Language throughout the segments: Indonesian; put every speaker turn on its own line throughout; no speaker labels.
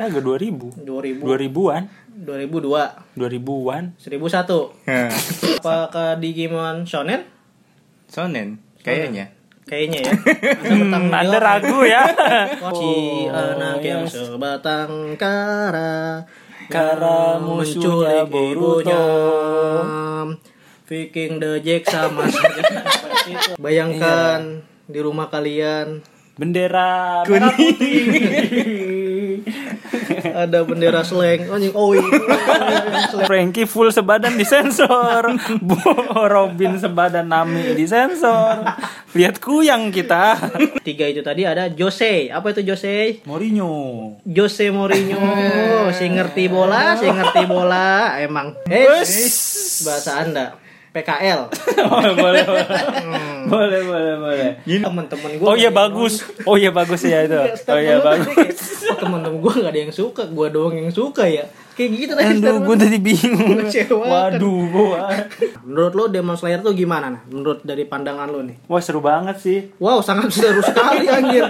Kagak 2000.
2000
2000-an.
2002
2000-an.
1001
Hah.
apakah Digimon shonen
Sonen kayaknya.
kayaknya ya Ada petang
Hmm, Anda
nilai.
ragu Oh, ya.
Wajib anak yang sebatang kara
Kara musuhnya Boruto.
Viking the Jack sama saja.
Iya.
Bayangkan di rumah kalian
Bendera merah putih.
ada bendera slang anjing oh iya
Frankie full sebadan disensor. Bu Robin sebadan Nami disensor. Lihat kuyang kita.
tiga itu tadi ada Jose apa itu Jose
Mourinho.
Jose Mourinho
Eh.
si ngerti bola si ngerti bola emang eh bahasa anda PKL
Oh, boleh, boleh. boleh, boleh, boleh.
temen-temen gue
Oh iya bagus. Oh iya bagus ya itu. Oh iya bagus.
temen-temen gue gak ada yang suka gue doang yang suka ya kayak gitu tadi
Aduh,
statement.
gue tadi bingung.
Mengecewakan.
Waduh, gua.
menurut lo Demon Slayer tuh gimana nah menurut dari pandangan lo nih
Wah seru banget sih.
wow sangat seru sekali anjir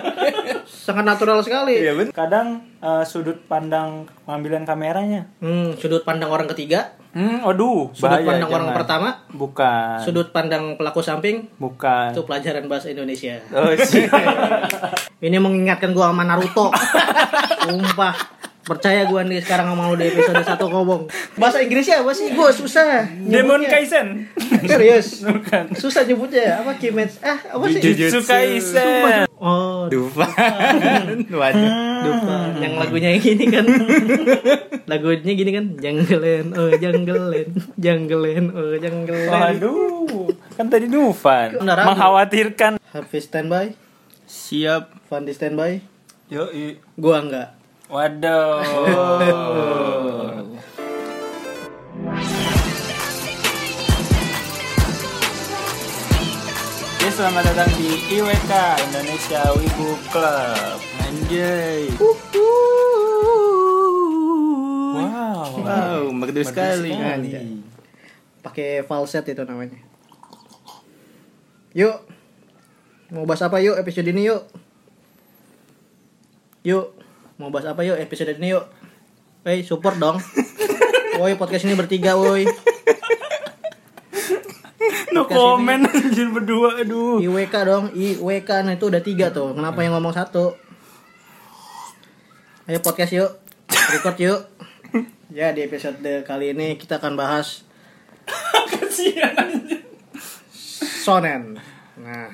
sangat natural sekali
Iya bener.
Kadang eh, sudut pandang pengambilan kameranya.
hmm, sudut pandang orang ketiga
Hmm, aduh,
sudut
bahaya,
pandang orang
jangan.
pertama
Bukan.
sudut pandang pelaku samping
Bukan.
itu pelajaran bahasa Indonesia
Oh sih.
ini mengingatkan gue sama Naruto sumpah percaya gue nih sekarang sama lo di episode 1 ngomong bahasa Inggrisnya apa sih gue susah
Demon
nyebutnya.
Kaisen.
Serius? Susah nyebutnya apa Kimetsu? Ah, apa sih?
Jujutsu.
Jujutsu Kaisen.
Oh,
Dufan. Waduh.
dupa. Yang lagunya yang gini kan. Lagunya gini kan. Janggelen, oh janggelen, janggelen, oh janggelen.
Waduh, kan tadi Dufan
Udah ragu.
mengkhawatirkan.
Hafiz standby,
Siap.
Fandi standby.
Yo.
Gua enggak.
Waduh. Ya, selamat datang di IWK Indonesia Wibu Club.
Anjay.
Wow.
Wow, merdu sekali. Iya.
Pakai falset itu namanya. Yuk. Mau bahas apa yuk episode ini yuk? Yuk. Mau bahas apa yuk episode ini yuk? Woi, support dong. Woi, podcast ini bertiga, woi.
No comment anjir berdua aduh.
IWK dong, IWK nah itu udah tiga tuh. Kenapa yang ngomong satu? Ayo podcast yuk, record yuk. Ya di episode kali ini kita akan bahas Sonen. Nah.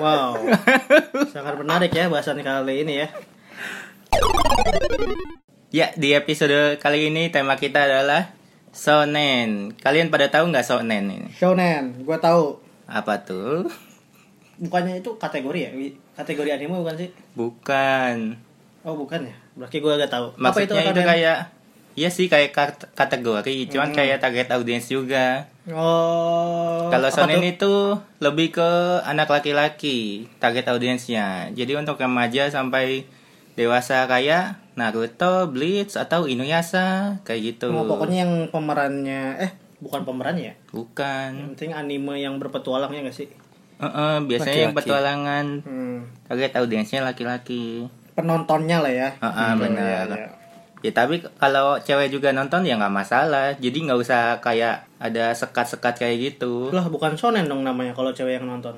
Wow, sangat menarik ya bahasan kali ini ya.
Ya, di episode kali ini tema kita adalah Sonen. Kalian pada tahu nggak Sonen ini?
Shonen, gue tahu.
Apa tuh?
Bukannya itu kategori ya? Kategori anime bukan sih?
Bukan.
Oh bukan ya? Berarti gue agak tahu.
Maksudnya itu,
kategori?
kayak Iya sih kayak kat- kategori, cuman kayak target audiens juga.
Oh.
Kalau
apa
Sonen
tuh?
itu lebih ke anak laki-laki target audiensnya. Jadi untuk remaja sampai dewasa kayak Naruto, Bleach atau Inuyasha kayak gitu.
Oh, pokoknya yang pemerannya eh bukan pemerannya ya. Yang
Bukan.
penting anime yang berpetualangnya gak sih?
Eh-eh, biasanya yang
Laki-laki.
petualangan
Hmm.
target audiensnya laki-laki.
Penontonnya lah ya.
Heeh, Ah, benar.
iya, iya.
Ya tapi kalau cewek juga nonton ya nggak masalah. Jadi nggak usah kayak ada sekat-sekat kayak gitu.
Lah bukan shonen dong namanya kalau cewek yang nonton.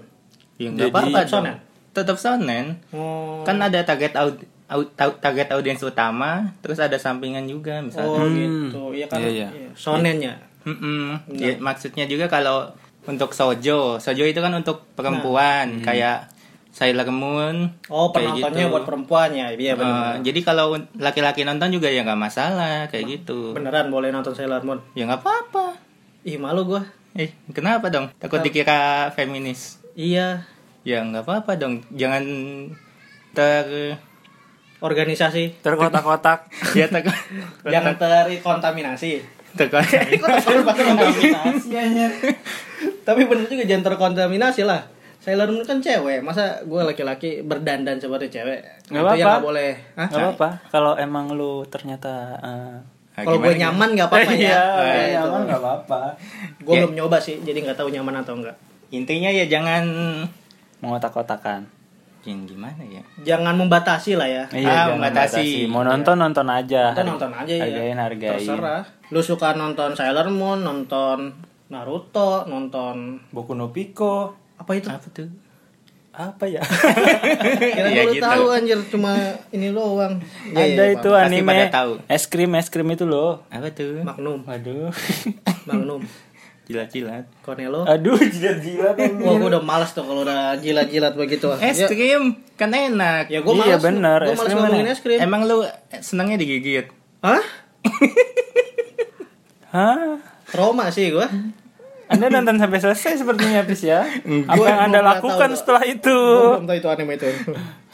Ya
Jadi-
nggak apa-apa
Sonen.
dong. Tetap sonen.
Oh.
Kan ada target aud au- ta- target audiens utama, terus ada sampingan juga misalnya.
Oh
Hmm.
gitu. Iya kan.
Iya, iya.
iya. Shonennya.
Mm-mm. Ya, maksudnya juga kalau untuk sojo, sojo itu kan untuk
Nah,
perempuan
hmm.
kayak Sailor Moon.
Oh,
kayak
penontonnya
gitu.
buat perempuannya. Iya
Eh,
benar.
jadi kalau un- laki-laki nonton juga ya nggak masalah kayak gitu.
Beneran boleh nonton Sailor Moon.
Ya nggak apa-apa.
Ih, malu gua.
Eh, kenapa dong? Takut dikira feminis.
Iya,
Ya nggak apa-apa dong. Jangan ter
organisasi
Terkotak-kotak.
ya takut
jangan terkontaminasi.
takut
Kok terkontaminasi anjir? Tapi bener juga jangan terkontaminasi lah. Sailor Moon kan cewek, masa gue laki-laki berdandan seperti cewek?
Nggak
Itu yang
apa-apa.
nggak boleh. Hah?
Gak apa-apa kalau emang lu ternyata eh,
Nah,
Kalau
gimana
gue
nih?
nyaman nggak apa-apa ya.
Iya,
Nah,
kalau
itu.
nyaman nggak Iya. apa-apa.
Gue belum nyoba sih, jadi nggak tahu nyaman atau enggak.
Intinya ya jangan
Mengotak-kotakan.
yang gimana ya?
Jangan membatasi lah ya.
Ah,
Iya, jangan
membatasi.
batasi. Mau nonton nonton aja.
Kita Iya. nonton aja ya.
Hargain hargain.
Terserah. Lu suka nonton Sailor Moon, nonton Naruto, nonton
Boku no Pico.
apa itu?
Apa tuh?
Apa ya?
Kira
Iya
lu
gitu.
tahu anjir cuma ini doang. Ya,
Ada
ya,
itu
Pak.
Pasti
anime.
pada tahu.
Es krim es krim itu loh.
Apa tuh?
Magnum,
Waduh.
Magnum,
Jilat-jilat.
Cornello.
Aduh, jilat-jilat.
Wah, gua udah males tuh kalau udah jilat-jilat begitu. ah.
Es
Ya,
krim kan enak.
ya gua
Iya,
males.
benar. Es
Gua males
krim ya?
ngomongin
enak.
es krim.
Emang lu senangnya digigit?
Hah?
Hah?
Trauma sih gua.
Anda nonton sampai selesai sepertinya, Pris ya. Apa
Gua
yang Anda
belum pernah
lakukan
tahu,
setelah itu?
Gua belum tahu itu anime itu.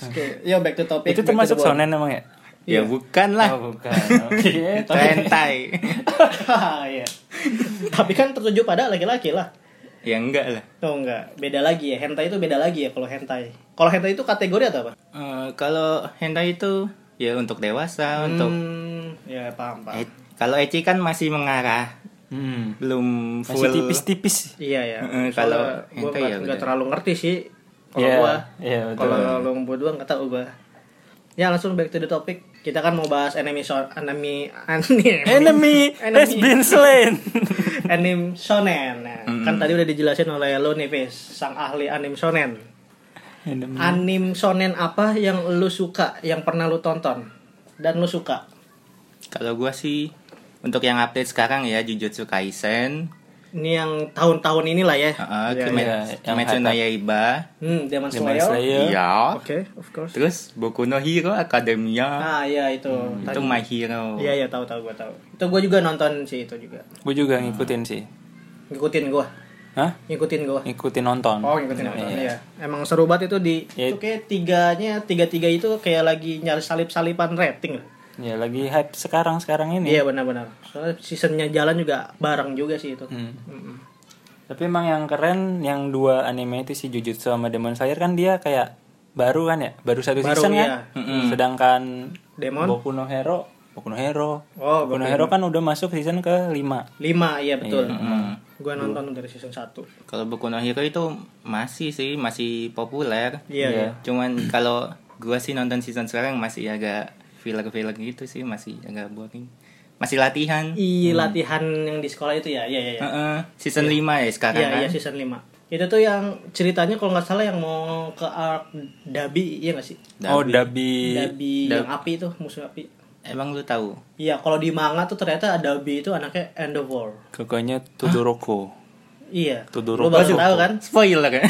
Oke, ya back to topic.
Itu
back to
termasuk
the ball.
shonen emang ya?
Ya bukan Iya, lah.
Oh, bukan. Oke.
Itu hentai.
Hahaha, iya. Tapi kan tertuju pada laki-laki lah.
ya enggak lah.
Oh enggak, beda lagi ya. Hentai itu beda lagi ya kalau hentai. Kalau hentai itu kategori atau apa?
Eh, kalau hentai itu ya untuk dewasa, untuk
Hmm, ya paham, paham.
e- kalau ecchi kan masih mengarah,
Hmm.
belum full.
Masih tipis-tipis.
Iya ya. Soalnya
Heeh, kalau
gua
hentai
nggak-
ya
nggak
udah.
terlalu ngerti sih. Kalau
Iya,
gua,
iya, betul.
kalau lo berdua nggak tahu gua. Ya langsung back to the topic. Kita kan mau bahas anime so anime anime
Enemy has
Enemy.
been slain.
anime shonen. Nah, Kan tadi udah dijelasin oleh lo nih, Fis, sang ahli anime shonen.
Enemy.
Anime shonen apa yang lu suka, yang pernah lu tonton dan lu suka?
Kalau gua sih untuk yang update sekarang ya Jujutsu Kaisen,
Ini yang tahun-tahun inilah ya.
heeh,
Iya,
Kime-
iya. Yang
Kimetsu no Yaiba.
Hmm, Demon
Demon
Slayer.
Slayer.
Iya.
Oke, of course.
Terus Boku no Hero Academia.
Ah, iya itu. Tadi-
Itu My Hero.
Iya, iya tahu tahu gua tahu. Itu gua juga nonton sih itu juga.
Gue juga ngikutin sih.
Ngikutin gua.
Hah?
Ngikutin gua.
Ngikutin nonton.
Oh, ngikutin nonton. Iya. Emang seru banget itu di
Ya,
itu kayak tiganya, tiga-tiga itu kayak lagi nyari salip-salipan rating.
Ya lagi hype sekarang-sekarang ini.
Iya, benar-benar. Soalnya seasonnya jalan juga bareng juga sih itu.
Hmm. Tapi emang yang keren yang dua anime itu si Jujutsu sama Demon Slayer kan dia kayak baru kan ya? Baru satu
Baru,
season
iya.
kan? Sedangkan
Demon?
Boku no Hero, Boku no Hero.
Oh,
Boku no Hero kan udah masuk season ke 5.
5, iya betul. Gua nonton dari season 1.
Kalau Boku no Hero itu masih sih masih populer.
Iya,
Iya.
iya.
Cuman kalau gua sih nonton season sekarang masih agak filler-filler gitu sih, masih agak boring. Masih latihan.
Iya, latihan yang di sekolah itu ya. Iya, iya, iya.
Heeh, season 5 ya sekarang
Iya,
kan.
iya season 5. Itu tuh yang ceritanya kalau nggak salah yang mau ke arc Dabi, iya nggak sih?
Dabi.
Oh, Dabi.
Dabi
Dab-
yang api itu, musuh api.
Emang lu tahu?
Iya, kalau di manga tuh ternyata Dabi itu anaknya Endeavor.
Kakaknya Todoroko.
Iya.
Todoroki.
Lu baru tahu kan?
Spoiler ya.
Ah,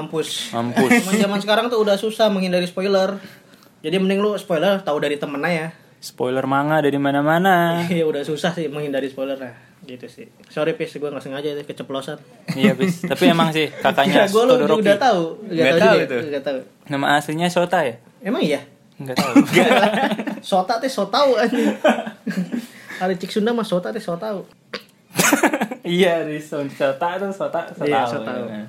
mampus.
Mampus.
Cuman zaman sekarang tuh udah susah menghindari spoiler. Jadi mending lu spoiler tahu dari temen aja.
Spoiler manga dari mana-mana.
Iya, udah susah sih menghindari spoiler nah. Gitu sih. Sorry Pis, gue nggak sengaja itu keceplosan.
iya, bis. Tapi emang sih
Ya,
kakaknya
gue lu
Todoroki.
udah tahu,
Nggak
Nggak
tahu
juga
itu.
ya? Nggak tahu.
Nama aslinya Shota ya?
Emang iya?
Enggak tahu.
Sota teh sotau anjing. Ada cik Sunda mah sota teh sotau.
iya, dari Shota itu Shota, Shota.
Iya, Shotao.
kan?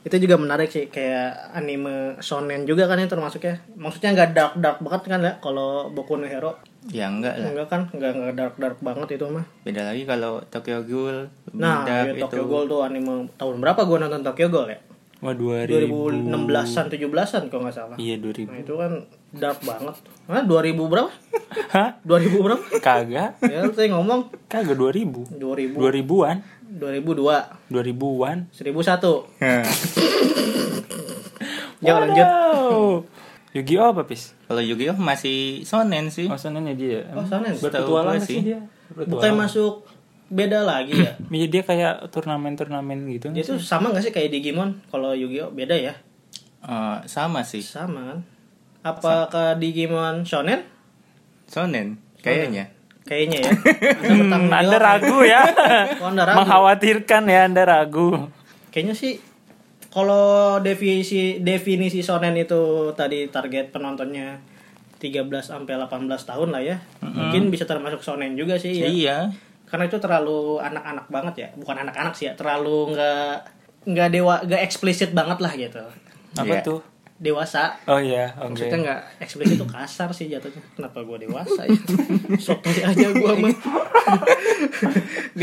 Itu juga menarik sih kayak anime shonen juga kan ya termasuknya. Maksudnya nggak dark dark banget kan ya kalau Boku no Hero.
ya enggak lah.
Enggak kan nggak nggak dark dark banget itu mah.
Beda lagi kalau Tokyo Ghoul, lebih
Nah, ya,
dark itu.
Tokyo Ghoul tuh anime tahun berapa gua nonton Tokyo Ghoul ya?
Wah, 2000.
2016-an 17-an kalau nggak salah.
Iya,
Nah,
2000.
itu kan dark banget. Hah, 2000 berapa?
Hah?
2000 berapa?
Kagak.
ya, lu tadi ngomong
Kagak 2000.
2000
2000-an.
2002
2000-an.
1001
Hah.
Ya lanjut.
Wow. Yu-Gi-Oh apa, Pis?
Kalau Yu-Gi-Oh masih shonen sih.
Oh, sonennya dia.
Oh, shonen.
Berpetualang
Setahu gua
sih
sih.
dia.
Bukan
Berpetualang.
masuk beda lagi ya.
Iya, dia kayak turnamen-turnamen gitu.
Dia tuh sama gak sih kayak Digimon? Kalau Yu-Gi-Oh beda ya?
Eh, sama sih.
Sama kan? Apakah Digimon shonen?
Shonen kayaknya.
Kayaknya ya. Ada bertanggung
Hmm, anda
jawab.
ragu ya.
Oh, Anda ragu.
Mengkhawatirkan ya, Anda ragu.
Kayaknya sih kalau definisi definisi shonen itu tadi target penontonnya 13 sampai 18 tahun lah ya. Mungkin bisa termasuk shonen juga sih ya.
Iya.
Karena itu terlalu anak-anak banget ya. Bukan anak-anak sih ya, terlalu nggak nggak dewa nggak eksplisit banget lah gitu.
Apa
Iya.
tuh?
Dewasa
Oh iya, oke.
Maksudnya nggak eksplisit itu kasar sih jatuhnya. Kenapa gue dewasa ya? Sok kali aja gue mah.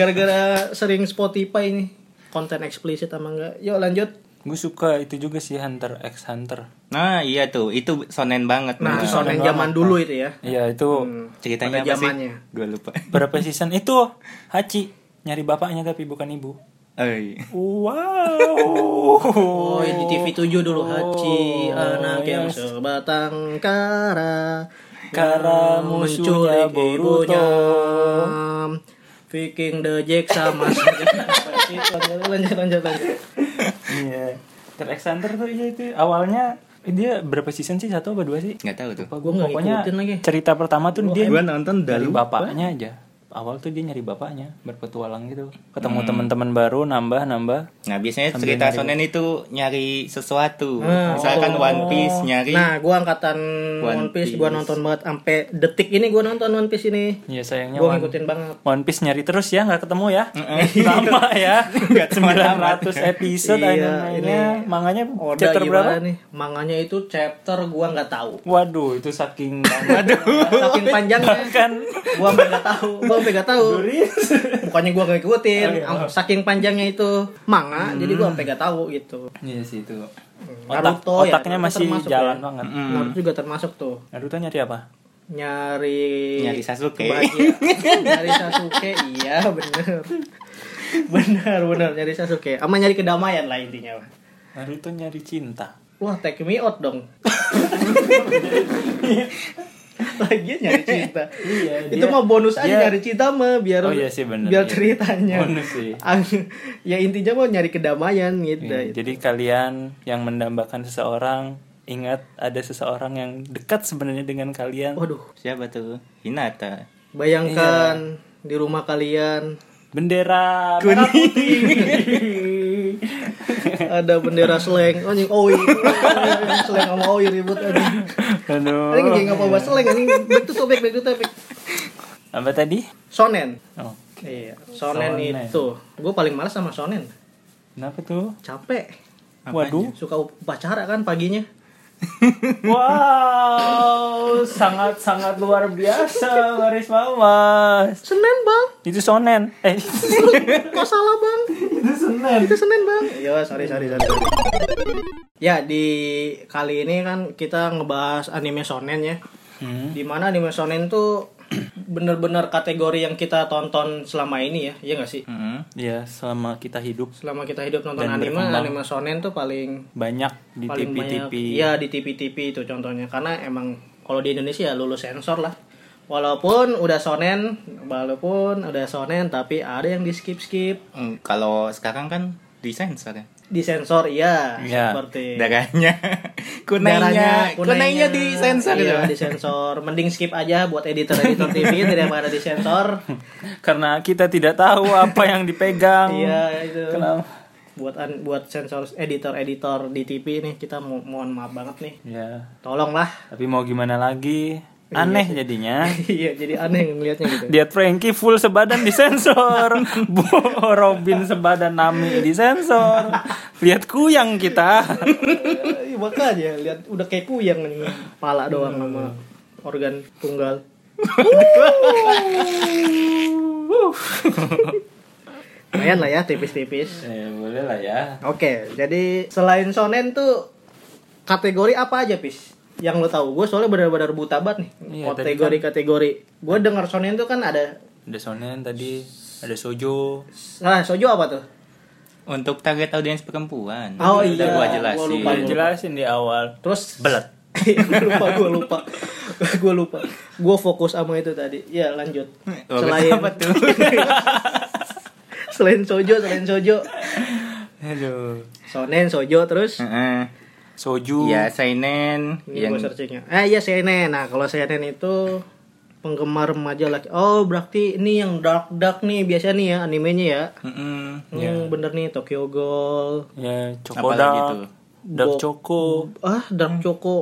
Gara-gara sering Spotify ini konten eksplisit sama enggak. Yuk lanjut.
Gue suka itu juga sih Hunter X Hunter.
Nah iya tuh, itu shonen banget.
Nah,
bener.
itu shonen zaman dulu itu ya.
Iya itu
Ceritanya
Pada
apa sih?
zamannya.
Gue lupa.
berapa season itu Hachi nyari bapaknya tapi bukan ibu.
Oi.
Wow.
Oh, di TV 7 dulu Hachi anak yang sebatang kara
Kara musuhnya
menculik
Boruto.
Viking the Jack sama saja. lanjut lanjut lanjut.
Iya. Hunter X Hunter tuh iya itu awalnya dia berapa season sih satu apa dua sih?
Nggak tahu tuh.
Apa
Gua
gua
nggak
pokoknya
ngikutin lagi. Oh,
cerita pertama tuh dia
Gue nonton
nyari
dari
bapaknya aja. Awal tuh dia nyari bapaknya, berpetualang gitu. Ketemu teman-teman baru nambah nambah.
Nah biasanya cerita shonen itu nyari sesuatu. Misalkan One Piece nyari.
Nah, gua angkatan One
One
Piece, gua nonton banget sampai detik ini gua nonton One Piece ini.
Ya sayangnya
Gua
One,
ngikutin banget.
One Piece nyari terus ya, nggak ketemu ya. Lama ya. 900 episode
Iya,
animenya. Manganya
Oda
chapter berapa?
gimana nih? Manganya itu chapter gua nggak tahu.
Waduh, itu saking kan. Aduh.
Saking panjangnya. gua sampai nggak tahu. Gua sampai nggak tahu. Bukannya gua nggak ngikutin, saking panjangnya itu manga, jadi gua sampai nggak tahu gitu.
Iya sih itu. Otak,
Naruto ya,
otaknya
Naruto
masih
termasuk
jalan
ya.
banget.
Naruto juga termasuk tuh.
Naruto nyari apa?
Nyari
Nyari Sasuke.
kebahagiaan. nyari Sasuke iya bener bener bener nyari Sasuke ama nyari kedamaian lah intinya
Naruto nyari cinta.
wah take me out dong lagi nyari cinta
Iya,
itu
dia-
mah bonus aja
dia-
nyari cinta mah biar
Oh iya sih, bener,
biar
iya.
ceritanya
Bonus sih.
ya intinya mah nyari kedamaian gitu
Iya, jadi kalian yang mendambakan seseorang, ingat ada seseorang yang dekat sebenarnya dengan kalian.
waduh
Siapa tuh?
Iya.
Hinata.
bayangkan di rumah kalian
Bendera merah putih.
ada bendera seleng oh anjing oi seleng sama oi ribut anjing
Aduh.
Ini nggak ngapa bahas seleng ini back to topic back to topic.
Apa tadi?
Sonen.
Oh,
Iya, sonen,
Sonen.
itu. Gue paling males sama sonen.
kenapa tuh?
Capek.
Waduh.
Suka upacara kan paginya.
Wow, sangat-sangat luar biasa Maris Mamas.
Senin, Bang.
Itu sonen. Eh,
Kok salah, Bang?
itu sonen.
Itu Senin, Bang. Iya, sorry, sorry, sorry. Ya, di kali ini kan kita ngebahas anime sonen ya.
Hmm.
Dimana anime sonen tuh bener-bener kategori yang kita tonton selama ini ya, iya gak sih?
Mm-mm.
Ya, selama kita hidup
Selama kita hidup nonton
Dan
anime,
berkembang.
anime sonen tuh paling
banyak di
paling
TV-TV.
banyak iya di TV-TV itu contohnya karena emang kalau di Indonesia ya lulus sensor lah walaupun udah sonen walaupun udah sonen tapi ada yang di skip skip
Mm, Kalau sekarang kan disensor ya.
di sensor iya
Iya.
seperti
Darahnya.
darahnya,
Kunainya. Kunainya disensor
iya,
ya.
di sensor mending skip aja buat editor editor TV daripada di sensor
Karena kita tidak tahu apa yang dipegang.
iya itu
Kenapa?
buat an- buat sensor editor editor di TV nih kita mo- mohon maaf banget nih
Ya,
tolonglah
tapi mau gimana lagi? Aneh jadinya.
iya jadi aneh ngelihatnya gitu
Dia Frankie full sebadan disensor. Bu Robin sebadan Nami disensor. Lihat kuyang kita.
Iya makanya lihat udah kayak kuyang nih pala doang sama
Hmm.
organ tunggal. Lumayan lah ya tipis-tipis.
Eh, boleh lah ya.
Oke, jadi selain sonen tuh kategori apa aja, Pis? Yang lo tahu? Gue soalnya benar-benar buta banget nih
Iya, tadi
kategori-kategori. Gue dengar sonen tuh kan ada
Ada sonen tadi, ada sojo.
Nah, sojo apa tuh?
Untuk target audiens perempuan.
Oh,
Udah
iya.
gua
Gua
jelasin.
lupa.
Udah jelasin di awal.
Terus
Belet.
gue Iya, lupa gue lupa gue lupa gue fokus sama itu tadi ya lanjut
Oh, apa tuh?
selain sojo selain sojo
Aduh.
sonen sojo terus
Heeh.
Soju.
Iya,
Ya seinen
ini
Eh, yang
gue searchingnya eh iya CNN nah kalau CNN itu penggemar remaja laki oh berarti ini yang dark dark nih biasa nih ya animenya ya
Mm-mm.
hmm, bener nih Tokyo Ghoul
Ya,
Apalagi tuh?
Cokoda. Dark
Bo-
Choco.
ah dark choco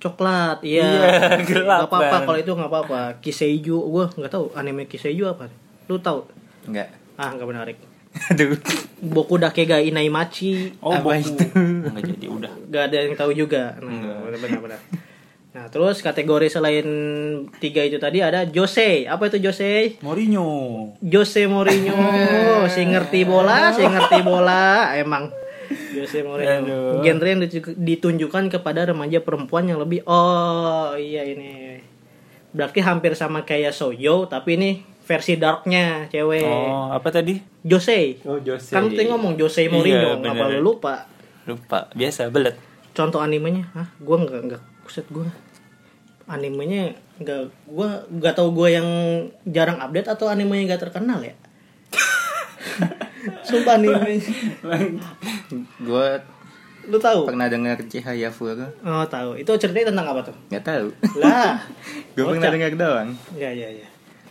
coklat iya
Iya, gelap
Nggak apa-apa
kan.
kalau itu nggak apa-apa Kiseiju gue nggak tahu anime Kiseiju apa lu tahu
enggak.
ah nggak menarik
Aduh.
Boku Dakega Inaimachi
Oh, Boku.
Apa itu?
Nggak jadi udah.
gak ada yang tahu juga nah benar-benar nah terus kategori selain tiga itu tadi ada Jose apa itu Jose
Mourinho.
Jose Mourinho si ngerti bola si ngerti bola emang Jose Mourinho. Genre yang ditu- ditunjukkan kepada remaja perempuan yang lebih oh iya ini. Berarti hampir sama kayak Soyo tapi ini versi darknya
Eh.
cewek.
Oh, apa tadi?
Jose.
Oh, Jose.
Kan tadi ngomong Jose
Iya,
Mourinho, kenapa
bener.
lu lupa?
Lupa, biasa belet.
Contoh animenya, ah gua nggak nggak kuset gua. Animenya nggak gua nggak tahu gua yang jarang update atau animenya nggak terkenal ya. Sumpah anime.
Gue
Lu tahu?
pernah dengar Cahaya Furu.
Oh, tahu. Itu ceritanya tentang apa tuh?
Gak tahu.
Lah,
Gue pernah
Kocak.
dengar doang.
ya ya ya.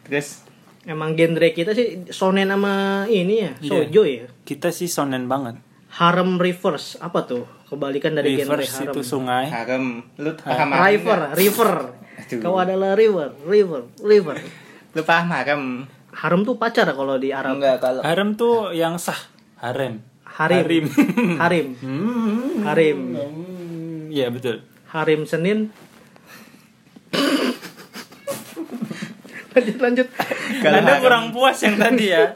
Terus
Emang genre kita sih shonen sama ini
Iya.
ya, shoujo ya.
Kita sih sonen banget.
Harem reverse apa tuh? Kebalikan dari
Reverse
genre harem.
itu sungai.
harem. Lu paham harem?
river, river.
Aduh.
Kau adalah river, river, river.
nggak? Lu paham harem?
Harem tuh pacar kalau di Arab.
Enggak kalau
Harem tuh yang sah. Harem.
Harim. Harim. Harim.
Hmm, ya betul.
Harim Senin. lanjut lanjut.
Anda kurang puas yang tadi ya.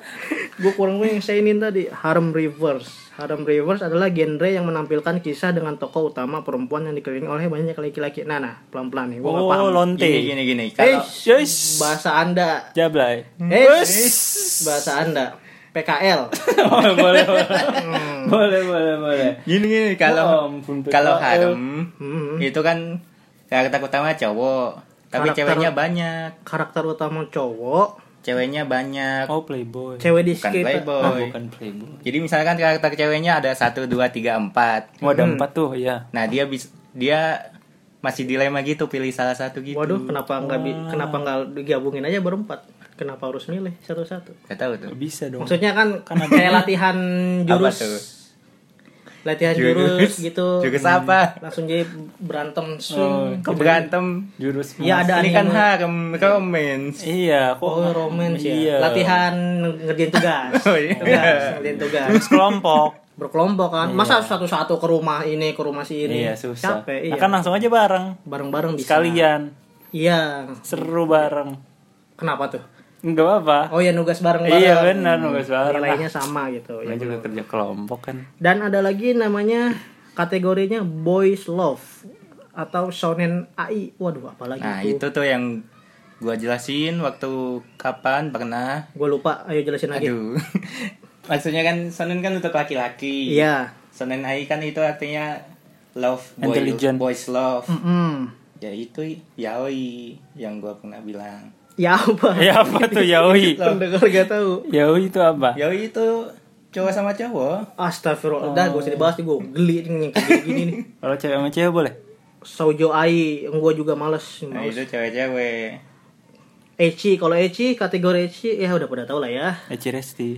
gue kurang gue yang ini tadi harem reverse harem reverse adalah genre yang menampilkan kisah dengan tokoh utama perempuan yang dikelilingi oleh banyak laki-laki nah nah pelan pelan nih gue nggak paham
Oh, lonte.
gini gini gini.
eh
Kalau
Yes.
bahasa anda
Jablay.
eh
Yes.
bahasa anda PKL
Oh, boleh, boleh. boleh, boleh, boleh.
gini gini kalau
Oh, ampun,
kalau
PKL.
harem
Hmm.
itu kan karakter utama cowok. Tapi
Karakter-
ceweknya banyak.
karakter utama cowok
Ceweknya banyak.
Oh, playboy.
cewek di
bukan
sekitar
Oh,
playboy.
bukan playboy.
Jadi misalkan karakter ceweknya ada 1 2 3 4.
Mau Oh, ada empat tuh, ya.
Nah, dia bis, dia masih dilema gitu pilih salah satu gitu.
waduh kenapa nggak bi-
Oh.
kenapa nggak digabungin aja berempat kenapa harus milih satu-satu
Gak tahu tuh.
Bisa dong.
maksudnya kan kayak latihan jurus
tuh?
latihan jurus, gitu Hmm.
Jurus apa?
langsung jadi berantem sun
Oh.
Keberantem.
Jurus
Iya ada
Ini
anime.
kan harem romance.
Iya, kok
Oh romance
Iya.
ya. Latihan ngerjain tugas.
Oh, iya.
Tugas, ngerjain tugas.
Terus kelompok.
Berkelompok kan. Masa satu-satu ke rumah ini, ke rumah si ini.
Iya, susah.
Capek, iya.
Nah, kan langsung aja bareng.
bareng-bareng bisa.
Sekalian.
Iya.
Seru bareng.
Kenapa tuh?
Enggak apa-apa.
Oh ya nugas bareng-bareng.
Iya, benar, nugas bareng.
Nilainya sama gitu.
Namanya
Ya.
juga kerja kelompok kan.
Dan ada lagi namanya kategorinya boys love atau shonen AI. Waduh, apalagi
Nah,
itu.
itu tuh yang gua jelasin waktu kapan pernah.
Gue lupa, ayo jelasin lagi.
Aduh. Maksudnya kan shonen kan untuk laki-laki.
Iya.
Shonen ai kan itu artinya love boy,
Intelligent.
boys love.
Mm.
Ya itu yaoi yang gua pernah bilang.
Ya apa?
Ya apa tuh yaoi?
Pendengar gak tahu.
Yaoi itu apa?
Ya.
Yaoi itu cowok sama cowok.
Astagfirullah, dah gue usah dibahas gue geli nih kayak gini nih.
Kalau cewek sama cewek boleh?
Sojo Ai, gue juga males,
Nah,
males.
itu cewek-cewek.
Eci, kalau Eci kategori Eci ya udah pada tau lah ya.
Eci Resti.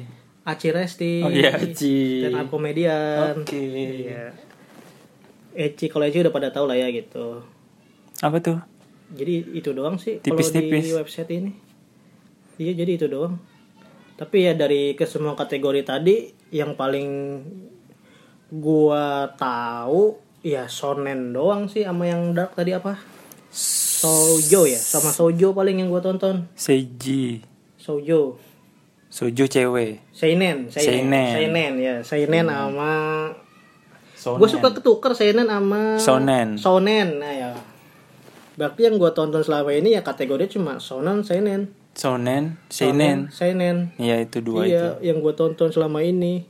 Aci Resti,
Oh iya, Eci.
dan up komedian.
Oke.
Iya. Eci Eh, kalau Eci udah pada tau lah ya gitu.
Apa tuh?
Jadi itu doang sih kalau
Tipis-tipis.
di website ini. Iya jadi itu doang. Tapi ya dari ke semua kategori tadi yang paling gua tahu ya shonen doang sih sama yang dark tadi apa? Sojo ya, sama Sojo paling yang gua tonton.
Seiji.
Sojo,
Soju cewek.
Seinen, Seinen,
Seinen.
Seinen ya, Seinen sama Gue suka ketuker seinen sama
Shonen.
Shonen. Nah, ya. Berarti yang gue tonton selama ini ya kategori cuma shonen, seinen.
Sonen, Seinen.
Shonen, Seinen.
Iya itu dua itu.
Iya, yang gue tonton selama ini.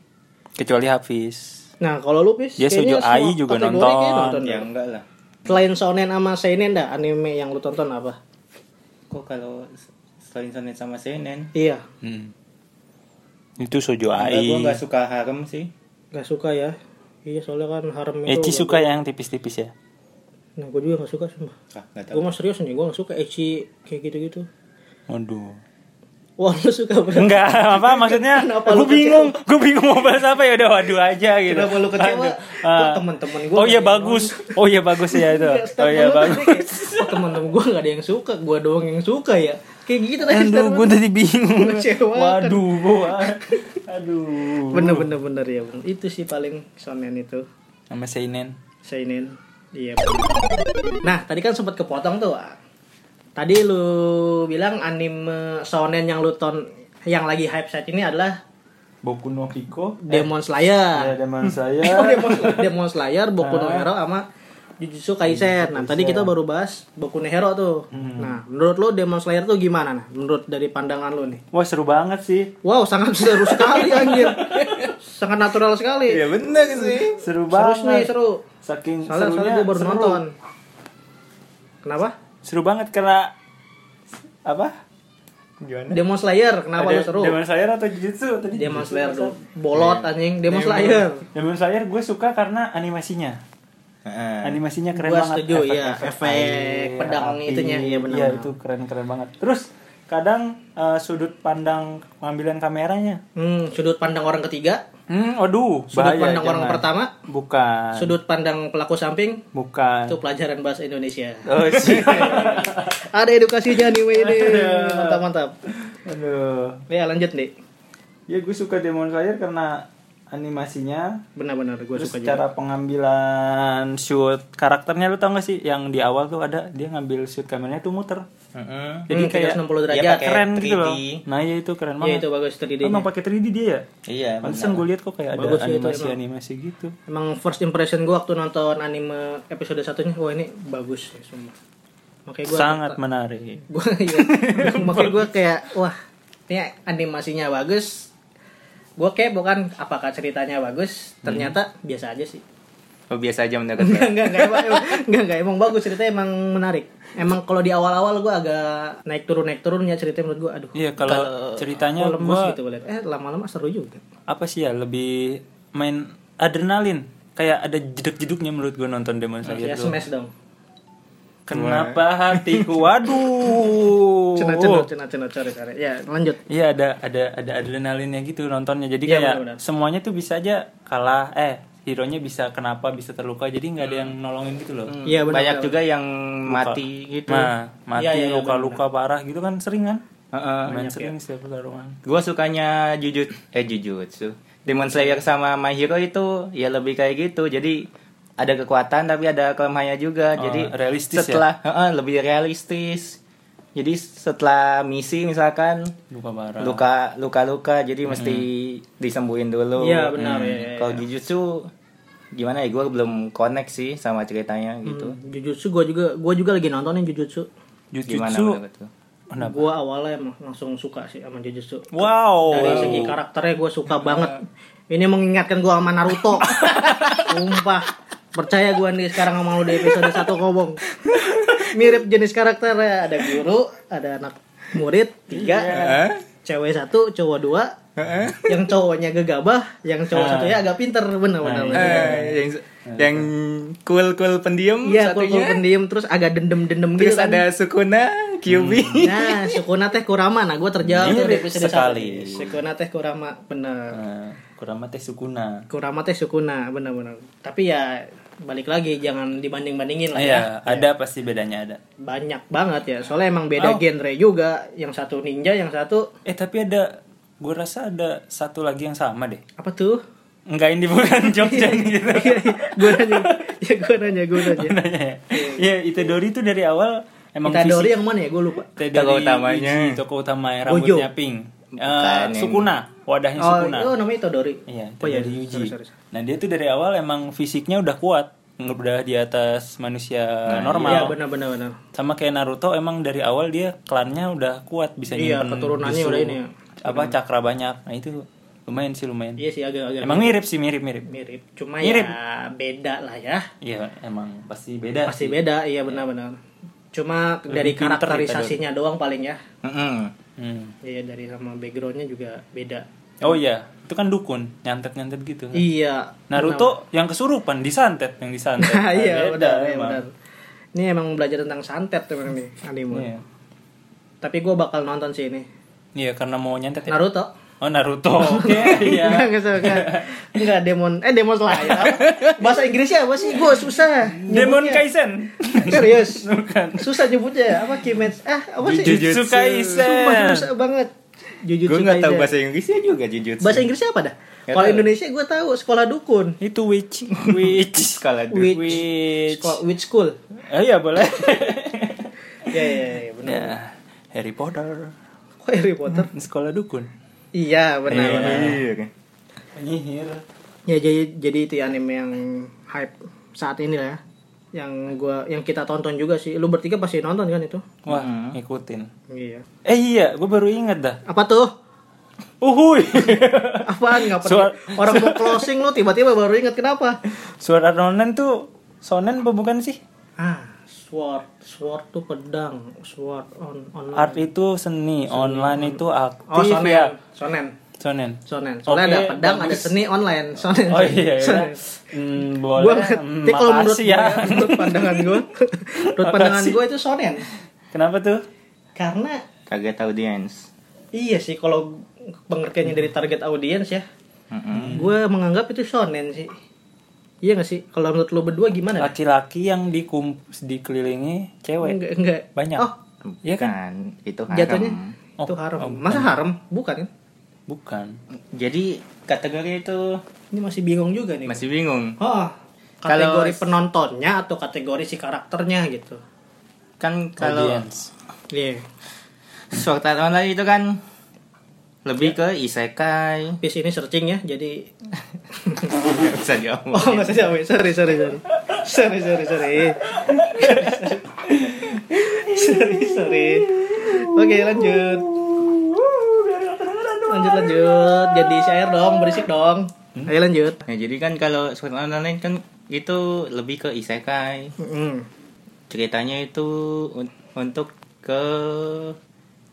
Kecuali Hafiz.
Nah, kalau lu Pis,
Dia Shoujo
kayaknya semua
Ai juga
kategori
nonton.
kayak
Ya
ya.
enggak lah.
Selain shonen sama seinen dah anime yang lu tonton apa?
Kok kalau selain shonen sama seinen?
Iya,
Hmm. Itu Soju
Enggak, gua
Ai.
enggak suka harem sih.
gak suka ya. Iya, soalnya kan harem itu.
Eci
gak-
suka yang tipis-tipis ya.
Nah, gue juga gak suka sumpah.
Ah, enggak
Gue
tahu.
mah serius nih, gue gak suka ecchi kayak gitu-gitu.
Waduh.
Wah, lu suka berarti.
Enggak, apa maksudnya?
Kenapa lu
Gue
kecewa?
bingung, gue bingung mau bahas apa ya udah waduh aja gitu.
Kenapa lu kecewa?
Aduh,
Wah,
ah.
temen-temen gua
Oh iya
nggak ada yang
bagus. Oh iya bagus ya itu.
Kayak
Oh
statement
iya
lu tadi
bagus.
kayak, "Oh, temen-temen gue gak ada yang suka gue doang yang suka ya kayak gitu tadi
Aduh,
statement
gue tadi bingung.
Mengecewakan.
Waduh, gua. Aduh.
bener bener bener ya bener. itu sih paling sonen itu
Sama Seinen.
seinen iya nah tadi kan sempat kepotong tuh ah. tadi lu bilang anime sonen yang lu ton yang lagi hype saat ini adalah
Boku no Pico
Demon
ya
Slayer.
Demon
Oh,
Slayer
Demon, Demon Slayer, Boku
Eh.
no Hero sama Jujutsu Kaisen. Nah, tadi kita baru bahas Boku no Hero tuh.
Hmm.
Nah, menurut lo Demon Slayer tuh gimana nah? Menurut dari pandangan lo nih.
wah seru banget sih
Wow, sangat seru sekali anjir. sangat natural sekali.
Iya bener sih.
seru
Seru nih,
banget
seru.
saking
Soalnya, soalnya
serunya
gue baru
seru.
nonton. Kenapa?
seru banget karena apa
Gimana?
Demon Slayer, kenapa
Ada
lo seru?
Demon Slayer atau Jujutsu tadi
Demon Slayer tuh bolot anjing, Demon Slayer.
Demon Slayer gue suka karena animasinya
Heeh.
animasinya keren
Nah, Gua
banget
setuju, iya. Efek
air,
pedang
api.
itunya, iya benar.
iya itu keren keren banget terus kadang eh, sudut pandang pengambilan kameranya
Hmm, sudut pandang orang ketiga,
hmm aduh
sudut
bahaya,
pandang orang
jangan.
pertama,
bukan
sudut pandang pelaku samping,
bukan
itu pelajaran bahasa Indonesia.
Oh sih.
Ada edukasinya nih weh ini. Mantap mantap.
aduh
Ya lanjut nih.
ya gue suka Demon Slayer karena animasinya
Benar-benar gue
Terus
suka juga. Hmm,
cara pengambilan shoot karakternya lu tau gak sih yang di awal tuh ada dia ngambil shoot kameranya tuh muter.
Heeh.
Jadi
Hmm,
kayak
360
dia
derajat.
pakai
keren gitu
3D.
loh. Nah, ya itu keren
Ya
banget.
itu bagus 3D.
Emang pakai 3D dia ya?
Iya.
Pantesan gue lihat kok kayak ada
Bagus ya itu
animasi-animasi gitu.
Emang first impression gue waktu nonton anime episode satunya, wah ini bagus ya semua. Makanya gue
Sangat menarik.
gue iya. makanya gue kayak wah ini animasinya bagus. Gue kayak bukan apakah ceritanya bagus? Ternyata biasa aja sih.
Oh biasa aja menurut gue.
Enggak, enggak, enggak, emang, enggak, enggak, emang bagus ceritanya emang menarik. Emang kalau di awal-awal gue agak naik turun naik turunnya ceritanya menurut gue aduh.
Iya, kalau ceritanya
kok lemes
gua-
gitu gua liat. Eh lama-lama seru juga.
Apa sih ya? Lebih main adrenalin. Kayak ada jeduk-jeduknya menurut gue nonton Demon Slayer.
Ya
tuh.
smash dong.
Kenapa hatiku? Waduh.
Cena cena cena cena cari cari. Ya lanjut.
Iya ada ada ada adrenalinnya gitu nontonnya. Jadi
Iya,
kayak
benar-benar.
semuanya tuh bisa aja kalah eh hero-nya bisa kenapa bisa terluka jadi nggak ada yang nolongin gitu loh.
Iya benar.
Banyak juga yang mati Hmm, gitu.
Nah, mati
Iya, iya, iya,
luka-luka parah gitu kan sering kan?
Heeh.
Main sering setiap pertarungan.
Gue sukanya jujut eh jujutsu. Demon Slayer sama My Hero itu ya lebih kayak gitu. Jadi ada kekuatan tapi ada kelemahannya juga.
Oh,
Jadi
realistis ya?
setelah heeh, lebih realistis. Jadi setelah misi misalkan
Luka parah.
Ah.
luka luka luka jadi mesti disembuhin dulu.
Hmm. Iya, benar,
Hmm.
iya, iya,
Kalau jujutsu gimana ya gue belum connect sih sama ceritanya gitu.
Hmm, Jujutsu gue juga gue juga lagi nontonin Jujutsu.
Gimana
Jujutsu.
menurut lu?
Kenapa?
Gue awalnya emang langsung suka sih sama Jujutsu.
Wow.
Dari segi karakternya gue suka banget. Ini mengingatkan gue sama Naruto. Sumpah. Percaya gue nih sekarang sama lu di episode 1 ngomong. Mirip jenis karakternya. Ada guru, ada anak murid, tiga. Cewek satu, cowok dua. yang cowoknya gegabah, yang cowok satunya agak pinter. Bener-bener.
yang yang cool cool pendiam
Iya, kul-kul pendiam terus agak dendem-dendem gitu kan.
Sukuna, Kyubi.
Nah, Sukuna teh Kurama. Nah, gue terjawab tuh di episode
Iya, sekali.
1. Sukuna teh Kurama, bener.
Nah, Kurama teh Sukuna.
Kurama teh Sukuna benar-benar. Tapi ya balik lagi jangan dibanding-bandingin lah ya.
Iya, ada pasti bedanya ada.
Banyak banget ya. Soalnya emang
Oh.
beda genre juga. Yang satu ninja, yang satu
Eh, tapi ada gue rasa ada satu lagi yang sama deh.
apa tuh?
Enggak ini bukan Jogja gitu.
gue nanya, ya gue nanya, gue nanya.
Nanya ya. Ya, Itadori itu dari awal emang
Itadori yang mana ya? Gue lupa.
Toko
utamanya.
Toko utama rambutnya pink. Eh,
Bukan yang-
Sukuna, wadahnya
Oh,
Sukuna.
itu namanya Itadori.
Iya,
oh, iya.
dari Yuji.
Sorry, sorry, sorry.
Nah, dia tuh dari awal emang fisiknya udah kuat, udah di atas manusia normal.
Iya, benar-benar benar.
Sama kayak Naruto emang dari awal dia klannya udah kuat bisa
Iya,
nyimpen
keturunannya
jutsu,
udah ini ya.
Apa cakra banyak. Nah, itu lumayan sih lumayan.
Iya sih agak-agak
Emang mirip sih, mirip-mirip.
mirip. Cuma
Mirip.
ya beda lah ya.
Iya, emang pasti beda.
Pasti beda, iya benar-benar. Cuma dari
pinter
karakterisasinya doang paling ya.
Hmm.
Iya dari sama backgroundnya juga beda.
Oh iya, itu kan dukun, nyantet-nyantet gitu.
Iya.
Naruto yang kesurupan disantet, yang disantet.
Nah, iya
Beda
benar, iya,
emang.
benar. Ini emang belajar tentang santet emang nih anime.
Iya.
Tapi gue bakal nonton sih ini.
Iya, karena mau nyantet ya.
Naruto.
Oh, Naruto. Oke,
Enggak,
iya.
enggak, enggak. Enggak, Demon. Eh, Demon Slayer. Bahasa Inggrisnya apa sih? Gue susah.
Demon
nyebutnya.
Kaisen.
Serius.
Bukan.
Susah nyebutnya. Apa Kimetsu? Ah, apa sih?
Jujutsu
Sumpah,
Kaisen.
susah banget. Jujutsu
Gue nggak tahu
Kaisen.
bahasa Inggrisnya juga Jujutsu.
Bahasa Inggrisnya apa dah? Kalau
tahu.
Indonesia gue tahu sekolah dukun.
Itu witch, witch.
Sekolah dulu.
Witch.
Witch.
Sekolah witch school.
Eh, iya boleh.
Iya, iya, iya, benar.
ya, Harry Potter.
Kok Harry Potter?
Sekolah dukun.
Iya benar.
Iya.
Penyihir.
Ya jadi jadi itu ya anime yang hype saat ini lah ya. Yang gua yang kita tonton juga sih. Lu bertiga pasti nonton kan itu?
Wah, ngikutin.
Iya.
Eh iya, gue baru inget dah.
Apa tuh?
Uhuy.
Apaan nggak
Suara-
pernah orang mau closing lu tiba-tiba baru inget kenapa?
Sword Art Online tuh sonen apa bukan sih?
Ah, sword, sword tuh pedang, sword on online.
Art itu seni, online itu aktif
oh, sonen.
ya.
Sonen.
Sonen.
Sonen. Soalnya
Oke,
ada pedang, ada seni online. Sonen.
Oh iya, iya.
Sonen.
Hmm,
Gua
boleh. Hmm,
ngerti kalau menurut
makasih ya.
gua ya, menurut pandangan gua, menurut pandangan
Makasih.
gua itu sonen.
Kenapa tuh?
Karena
Target audience.
iya sih kalau pengertiannya dari target audiens ya,
Mm-mm.
gua menganggap itu sonen sih. Iya gak sih? Kalau menurut lo berdua gimana?
Laki-laki yang dikum dikelilingi cewek.
Enggak, enggak.
Banyak.
Oh,
Iya kan?
Bukan, itu haram.
jatuhnya
Oh,
itu haram.
oh,
Masa haram? Bukan kan?
Bukan.
Jadi kategori itu
Ini masih bingung juga nih.
masih bingung.
Oh,
Kalau-
kategori penontonnya atau kategori si karakternya gitu.
Kan
Oh,
kalau
Audience.
Iya.
Sword Art Online itu kan
Iya.
lebih ke isekai.
Bis ini searching ya, jadi
Nggak bisa
oh
diomongin.
nggak saya sorry sorry sorry sorry sorry sorry sorry sorry. Oke lanjut. Lanjut lanjut, jadi syair dong, berisik dong. Ayo lanjut.
Nah, jadi kan kalau Sword Art Online kan itu lebih ke isekai.
Mm-mm.
Ceritanya itu un- untuk ke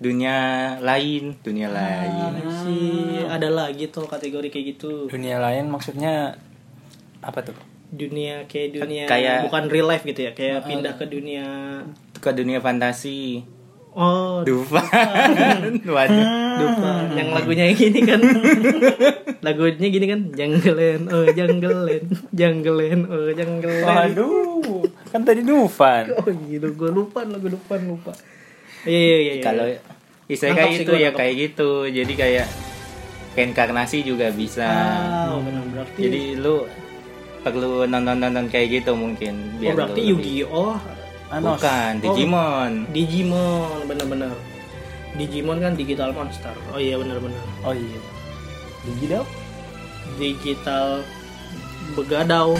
dunia lain, dunia lain.
Si ada lagi tuh kategori kayak gitu.
Dunia lain maksudnya apa tuh?
Dunia kayak dunia
Kayak-
bukan real life gitu ya, kayak pindah ke dunia
Ke dunia fantasi.
Oh,
Dufan. Waduh.
Dupa yang lagunya yang gini kan lagunya gini kan janggelen oh janggelen janggelen oh janggelen
Waduh, kan tadi Dufan.
oh gitu gue lupa lagu depan lupa iya iya iya iya.
Kalau
Nangkap sih
isekai
gua,
itu ya
nangkap.
kayak gitu. Jadi kayak reinkarnasi juga bisa.
ah oh, benar berarti
Jadi lu perlu nonton-nonton kayak gitu
oh,
mungkin biar
berarti Oh.
lu lebih-
Yu-Gi-Oh
Anos.
Bukan, Digimon.
Digimon benar-benar Digimon kan digital monster oh iya benar-benar
Oh iya. Gigi dong.
digital begadau